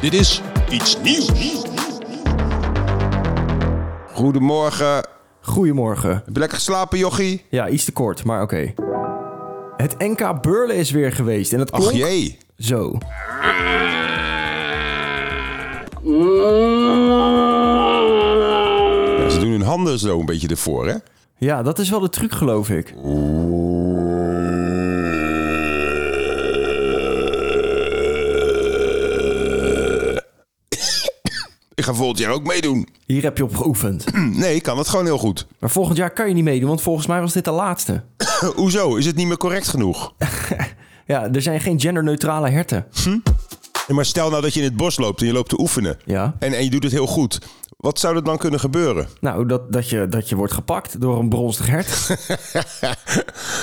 Dit is iets nieuws. Goedemorgen. Goedemorgen. Heb je lekker geslapen, jochie? Ja, iets te kort, maar oké. Het NK Beurlen is weer geweest en het klonk Ach jee. zo. Ja, ze doen hun handen zo een beetje ervoor, hè? Ja, dat is wel de truc, geloof ik. Ik ga volgend jaar ook meedoen. Hier heb je op geoefend. Nee, ik kan het gewoon heel goed. Maar volgend jaar kan je niet meedoen, want volgens mij was dit de laatste. Hoezo? Is het niet meer correct genoeg? Ja, er zijn geen genderneutrale herten. Ja, Maar stel nou dat je in het bos loopt en je loopt te oefenen. Ja. En, en je doet het heel goed. Wat zou er dan kunnen gebeuren? Nou, dat, dat, je, dat je wordt gepakt door een bronstig hert.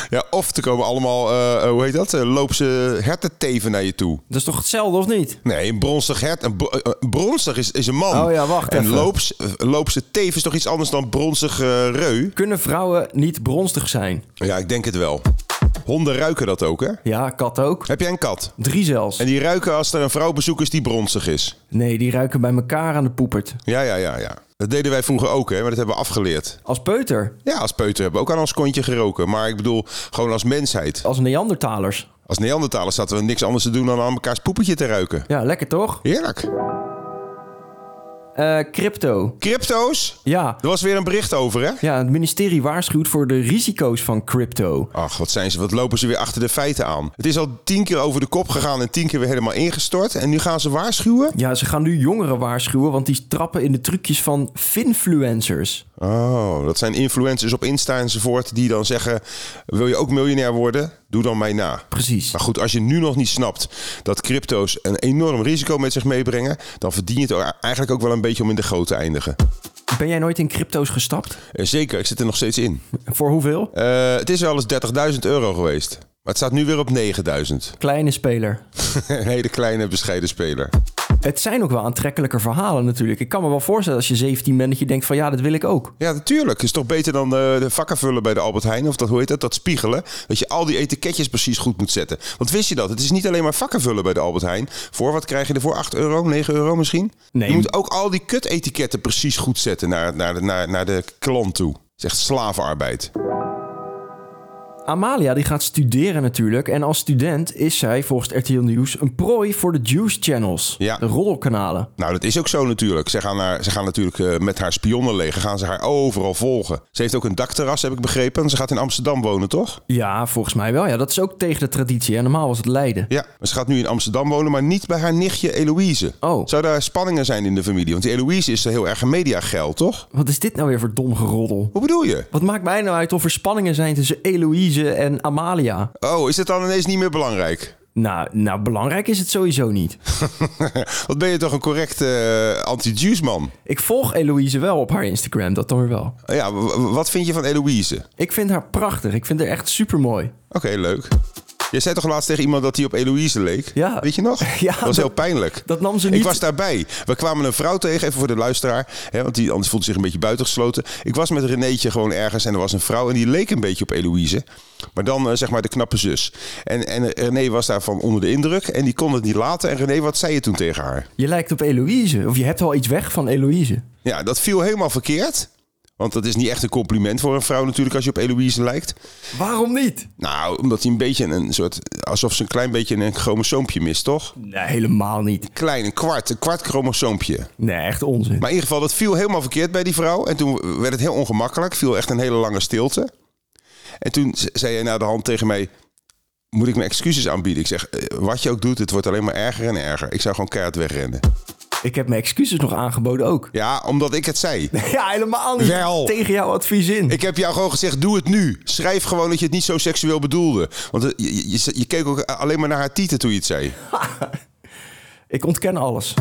ja, of er komen allemaal, eh, hoe heet dat? Eh, Loopse hertenteven naar je toe. Dat is toch hetzelfde, of niet? Nee, een bronstig hert. Een, bro- eh, een bronstig is, is een man. Oh ja, wacht En even. loops, eh, loopse teef is toch iets anders dan bronstig eh, reu? Kunnen vrouwen niet bronstig zijn? Ja, ik denk het wel. Honden ruiken dat ook, hè? Ja, kat ook. Heb jij een kat? Drie zelfs. En die ruiken als er een vrouw bezoek is die bronstig is. Nee, die ruiken bij elkaar aan de poepert. Ja, ja, ja, ja. Dat deden wij vroeger ook, hè? Maar dat hebben we afgeleerd. Als peuter. Ja, als peuter hebben we ook aan ons kontje geroken. Maar ik bedoel, gewoon als mensheid. Als Neandertalers. Als Neandertalers zaten we niks anders te doen dan aan elkaars poepetje te ruiken. Ja, lekker toch? Heerlijk. Eh, crypto. Crypto's? Ja, Er was weer een bericht over, hè? Ja, het ministerie waarschuwt voor de risico's van crypto. Ach, wat zijn ze, wat lopen ze weer achter de feiten aan. Het is al tien keer over de kop gegaan en tien keer weer helemaal ingestort. En nu gaan ze waarschuwen? Ja, ze gaan nu jongeren waarschuwen, want die trappen in de trucjes van finfluencers. Oh, dat zijn influencers op Insta enzovoort die dan zeggen... wil je ook miljonair worden? Doe dan mij na. Precies. Maar goed, als je nu nog niet snapt dat crypto's een enorm risico met zich meebrengen... dan verdien je het eigenlijk ook wel een beetje om in de goot te eindigen. Ben jij nooit in crypto's gestapt? Eh, Zeker, ik zit er nog steeds in. Voor hoeveel? Eh, het is wel eens 30.000 euro geweest. Maar het staat nu weer op 9.000. Kleine speler. een hele kleine, bescheiden speler. Het zijn ook wel aantrekkelijke verhalen natuurlijk. Ik kan me wel voorstellen als je 17 bent dat je denkt van ja, dat wil ik ook. Ja, natuurlijk. Is toch beter dan eh, de vakken vullen bij de Albert Heijn? Of dat, hoe heet dat? Dat spiegelen. Dat je al die etiketjes precies goed moet zetten. Want wist je dat? Het is niet alleen maar vakken vullen bij de Albert Heijn. Voor wat krijg je ervoor? 8 euro, 9 euro misschien? Nee. Je moet ook al die kut-etiketten precies goed zetten naar, naar, de- naar, naar de klant toe. Het is echt slavenarbeid. Amalia die gaat studeren natuurlijk en als student is zij volgens RTL Nieuws een prooi voor de juice channels. Ja. De roddelkanalen. Nou, dat is ook zo natuurlijk. Ze gaan, haar, ze gaan natuurlijk eh, met haar spionnenleger gaan ze haar overal volgen. Ze heeft ook een dakterras, heb ik begrepen. En ze gaat in Amsterdam wonen, toch? Ja, volgens mij wel. Ja, dat is ook tegen de traditie. En normaal was het Leiden. Ja, maar ze gaat nu in Amsterdam wonen, maar niet bij haar nichtje Eloïse. Oh. Zou daar spanningen zijn in de familie? Want die Eloïse is heel erg een mediageil, toch? Wat is dit nou weer voor dom geroddel? Hoe bedoel je? Wat maakt mij nou uit of er spanningen zijn tussen Eloïse en Amalia? Oh, is het dan ineens niet meer belangrijk? Nou, nou belangrijk is het sowieso niet. Wat ben je toch een correcte eh, anti-juice man? Ik volg Eloïse wel op haar Instagram, dat dan weer wel. Ja, w- w- wat vind je van Eloïse? Oké, Ik vind haar prachtig. Ik vind haar echt super mooi. leuk. Je zei toch laatst tegen iemand dat hij op Eloïse leek? Ja. Weet je nog? Ja, dat was dat- heel pijnlijk. Dat nam ze niet. Ik was daarbij. We kwamen een vrouw tegen, even voor de luisteraar. Hè, want die anders voelde zich een beetje buitengesloten. Ik was met Renéetje gewoon ergens en er was een vrouw en die leek een beetje op Eloïse. Maar dan eh, zeg maar de knappe zus. En, en eh, René was daarvan onder de indruk en die kon het niet laten. En René, wat zei je toen tegen haar? Je lijkt op Eloïse. Of je hebt al iets weg van Eloïse. Ja, dat viel helemaal verkeerd. Want dat is niet echt een compliment voor een vrouw natuurlijk als je op Eloïse lijkt. Waarom niet? Nou, omdat hij een beetje een soort... Alsof ze een klein beetje een chromosoompje mist, toch? Nee, helemaal niet. Klein, een kwart, een kwart chromosoompje. Nee, echt onzin. Maar in ieder geval, dat viel helemaal verkeerd bij die vrouw. En toen werd het heel ongemakkelijk. Viel echt een hele lange stilte. En toen ze- zei hij na de hand tegen mij... Moet ik mijn excuses aanbieden? Ik zeg, eh, wat je ook doet, het wordt alleen maar erger en erger. Ik zou gewoon keihard wegrennen. Ik heb mijn excuses nog aangeboden ook. Ja, omdat ik het zei. Ja, helemaal niet. Wel. Tegen jouw advies in. Ik heb jou gewoon gezegd, doe het nu. Schrijf gewoon dat je het niet zo seksueel bedoelde. Want eh, je, je, je keek ook alleen maar naar haar tieten toen je het zei. Ik ontken alles.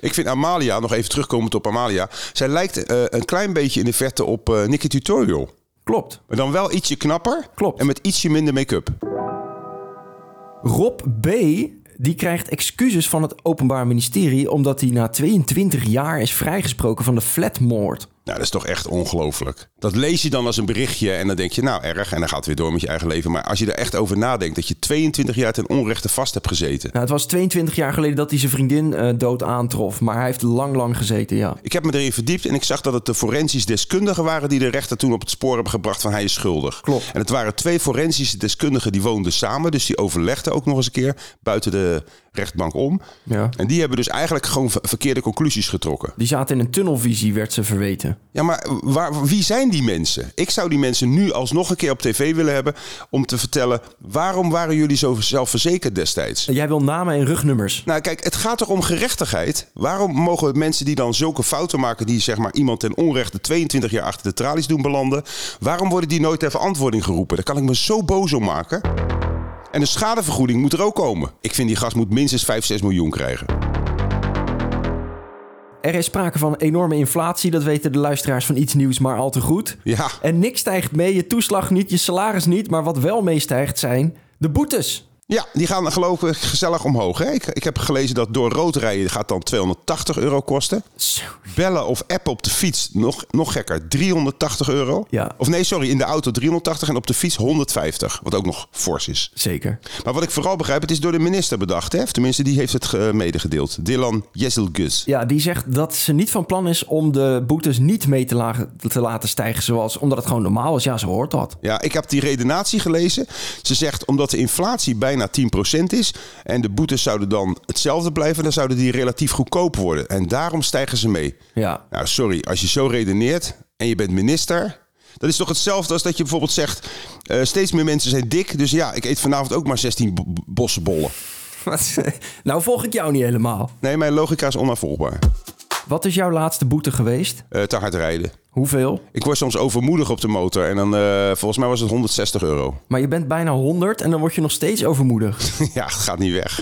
Ik vind Amalia, nog even terugkomend op Amalia. Zij lijkt eh, een klein beetje in de verte op eh Nicky Tutorial. Klopt. Maar dan wel ietsje knapper. Klopt. En met ietsje minder make-up. Rob B. Die krijgt excuses van het Openbaar Ministerie omdat hij na 22 jaar is vrijgesproken van de flatmoord. Nou, dat is toch echt ongelooflijk. Dat lees je dan als een berichtje en dan denk je, nou erg. En dan gaat het weer door met je eigen leven. Maar als je er echt over nadenkt dat je 22 jaar ten onrechte vast hebt gezeten. Nou, het was 22 jaar geleden dat hij zijn vriendin eh, dood aantrof, maar hij heeft lang, lang gezeten, ja. Ik heb me erin verdiept en ik zag dat het de forensisch deskundigen waren die de rechter toen op het spoor hebben gebracht van hij is schuldig. Klopt. En het waren twee forensische deskundigen die woonden samen, dus die overlegden ook nog eens een keer buiten de rechtbank om. ja. En die hebben dus eigenlijk gewoon ver- verkeerde conclusies getrokken. Die zaten in een tunnelvisie, werd ze verweten. Ja, maar waar, wie zijn die mensen? Ik zou die mensen nu alsnog een keer op tv willen hebben om te vertellen waarom waren jullie zo zelfverzekerd destijds? Jij wil namen en rugnummers. Nou, kijk, het gaat toch om gerechtigheid? Waarom mogen mensen die dan zulke fouten maken, die zeg maar iemand ten onrechte 22 jaar achter de tralies doen belanden, waarom worden die nooit ter verantwoording geroepen? Daar kan ik me zo boos om maken. En de schadevergoeding moet er ook komen. Ik vind die gast moet minstens 5, 6 miljoen krijgen. Er is sprake van enorme inflatie, dat weten de luisteraars van Iets Nieuws maar al te goed. Ja. En niks stijgt mee, je toeslag niet, je salaris niet, maar wat wel meestijgt zijn de boetes. Ja, die gaan geloof ik gezellig omhoog. Hè? Ik, ik heb gelezen dat door rood rijden gaat dan 280 euro kosten. Zo. Bellen of appen op de fiets, nog, nog gekker, 380 euro. Ja. Of nee, sorry, in de auto 380 en op de fiets 150. Wat ook nog fors is. Zeker. Maar wat ik vooral begrijp, het is door de minister bedacht. Hè? Of tenminste, die heeft het eh, medegedeeld. Dylan Jezelgus. Ja, die zegt dat ze niet van plan is om de boetes niet mee te, lagen- te laten stijgen, zoals, omdat het gewoon normaal is. Ja, ze hoort dat. Ja, ik heb die redenatie gelezen. Ze zegt omdat de inflatie bijna 10% is en de boetes zouden dan hetzelfde blijven, dan zouden die relatief goedkoop worden. En daarom stijgen ze mee. Ja. Nou, sorry, als je zo redeneert en je bent minister. Dat is toch hetzelfde als dat je bijvoorbeeld zegt: eh, steeds meer mensen zijn dik. Dus ja, ik eet vanavond ook maar 16 b- b- bossenbollen. nou volg ik jou niet helemaal. Nee, mijn logica is onafvolgbaar. Wat is jouw laatste boete geweest? Eh, te hard rijden. Hoeveel? Ik word soms overmoedig op de motor en dan, eh, volgens mij was het 160 euro. Maar je bent bijna 100 en dan word je nog steeds overmoedig. ja, het gaat niet weg.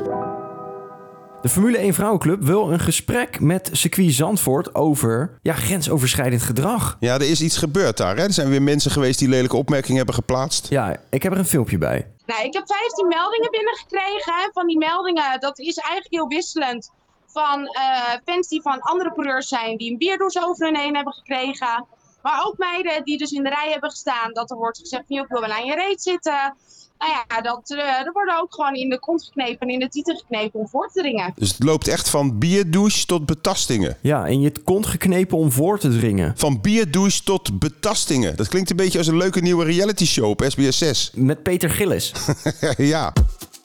De Formule 1 Vrouwenclub wil een gesprek met circuit Zandvoort over ja, grensoverschrijdend gedrag. Ja, er is iets gebeurd daar. Hè? Er zijn weer mensen geweest die lelijke opmerkingen hebben geplaatst. Ja, ik heb er een filmpje bij. Nou, ik heb 15 meldingen binnengekregen. hè. Van die meldingen, dat is eigenlijk heel wisselend. Van eh, fans die van andere coureurs zijn, die een bierdoos over hun heen hebben gekregen. Maar ook meiden die dus in de rij hebben gestaan, dat er wordt gezegd: "Joh, ik wil wel aan je reet zitten. Nou ja, dat, eh er worden ook gewoon in de kont geknepen en in de titel geknepen om voor te dringen. Dus het loopt echt van bierdouche tot betastingen. Ja, en je kont geknepen om voor te dringen. Van bierdouche tot betastingen. Dat klinkt een beetje als een leuke nieuwe reality show op SBS 6. Met Peter Gillis. ja.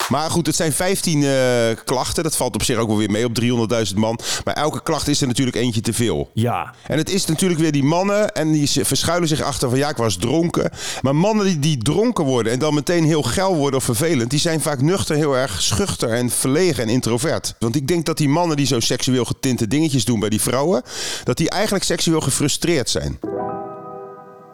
Maar goed, het zijn 15 eh, klachten. Dat valt op zich ook wel weer mee op 300.000 man. Maar elke klacht is er natuurlijk eentje te veel. Ja, En het is natuurlijk weer die mannen en die ze- verschuilen zich achter van ja, ik was dronken. Maar mannen die, die dronken worden en dan meteen heel geil worden of vervelend, die zijn vaak nuchter heel erg schuchter en verlegen en introvert. Want ik denk dat die mannen die zo seksueel getinte dingetjes doen bij die vrouwen, dat die eigenlijk seksueel gefrustreerd zijn.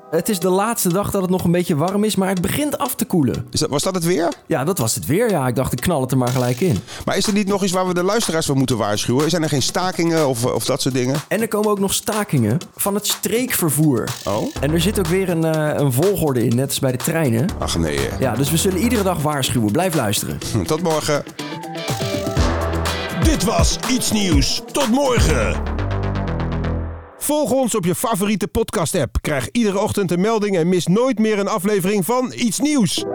het is de laatste dag dat het nog een beetje warm is, maar het begint af te koelen. Is dat, was dat het weer? Ja, dat was het weer. Ja, ik dacht, ik knal het er maar gelijk in. Maar is er niet nog iets waar we de luisteraars voor moeten waarschuwen? Zijn er geen stakingen of, of dat soort dingen? En er komen ook nog stakingen van het streekvervoer. Oh. En er zit ook weer een, eh, een volgorde in, net als bij de treinen. Ach nee, hè. Ja, dus we zullen iedere dag waarschuwen. Blijf luisteren. tot morgen. Dit was iets nieuws. Tot morgen. Volg ons op je favoriete podcast-app. Krijg iedere ochtend een melding en mis nooit meer een aflevering van iets nieuws.